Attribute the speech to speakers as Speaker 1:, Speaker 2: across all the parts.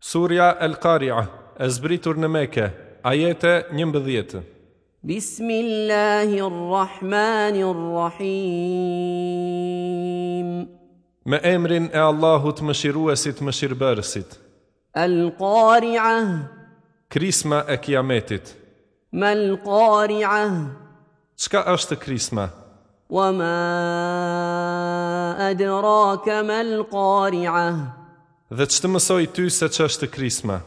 Speaker 1: Surja El Qaria, e zbritur në Mekë, ajete 11.
Speaker 2: بسم الله الرحمن الرحيم
Speaker 1: Me emrin e Allahut mëshiruesit mëshirbërësit,
Speaker 2: القارعة
Speaker 1: krisma e kiametit.
Speaker 2: ما القارعة
Speaker 1: Çka është krisma?
Speaker 2: وما أدراك ما القارعة
Speaker 1: Dhe që të mësoj ty se që është krisma?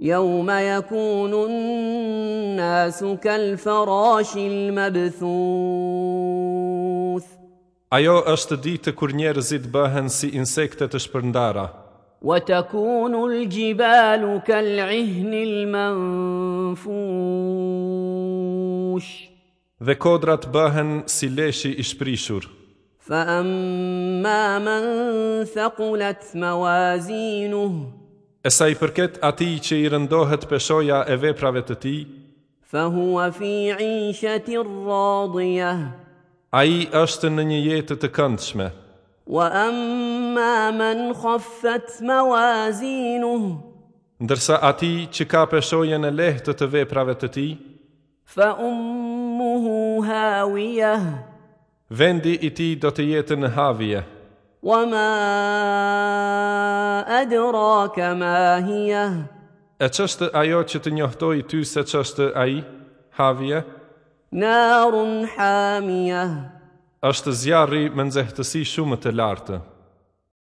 Speaker 2: يوم يكون الناس كالفراش المبثوث
Speaker 1: Ajo është ditë kur njerëzit bëhen si insekte të shpërndara,
Speaker 2: وتكون الجبال كالعهن المنفوش
Speaker 1: dhe kodrat bëhen si leshi i shprishur.
Speaker 2: فأما من ثقلت موازينه
Speaker 1: E sa i përket ati që i rëndohet peshoja e veprave të ti,
Speaker 2: فهو في عيشة راضية
Speaker 1: a i është në një jetë të këndshme.
Speaker 2: وأما من خفت موازينه
Speaker 1: Ndërsa ati që ka peshojen e lehtë të veprave të ti,
Speaker 2: فأمه هاوية
Speaker 1: vendi i ti do të jetë në havje.
Speaker 2: وما أدراك ما هي
Speaker 1: E qështë ajo që të njohtoj ty se qështë a i, havje,
Speaker 2: نار حامية
Speaker 1: është zjarri me nxehtësi shumë të lartë.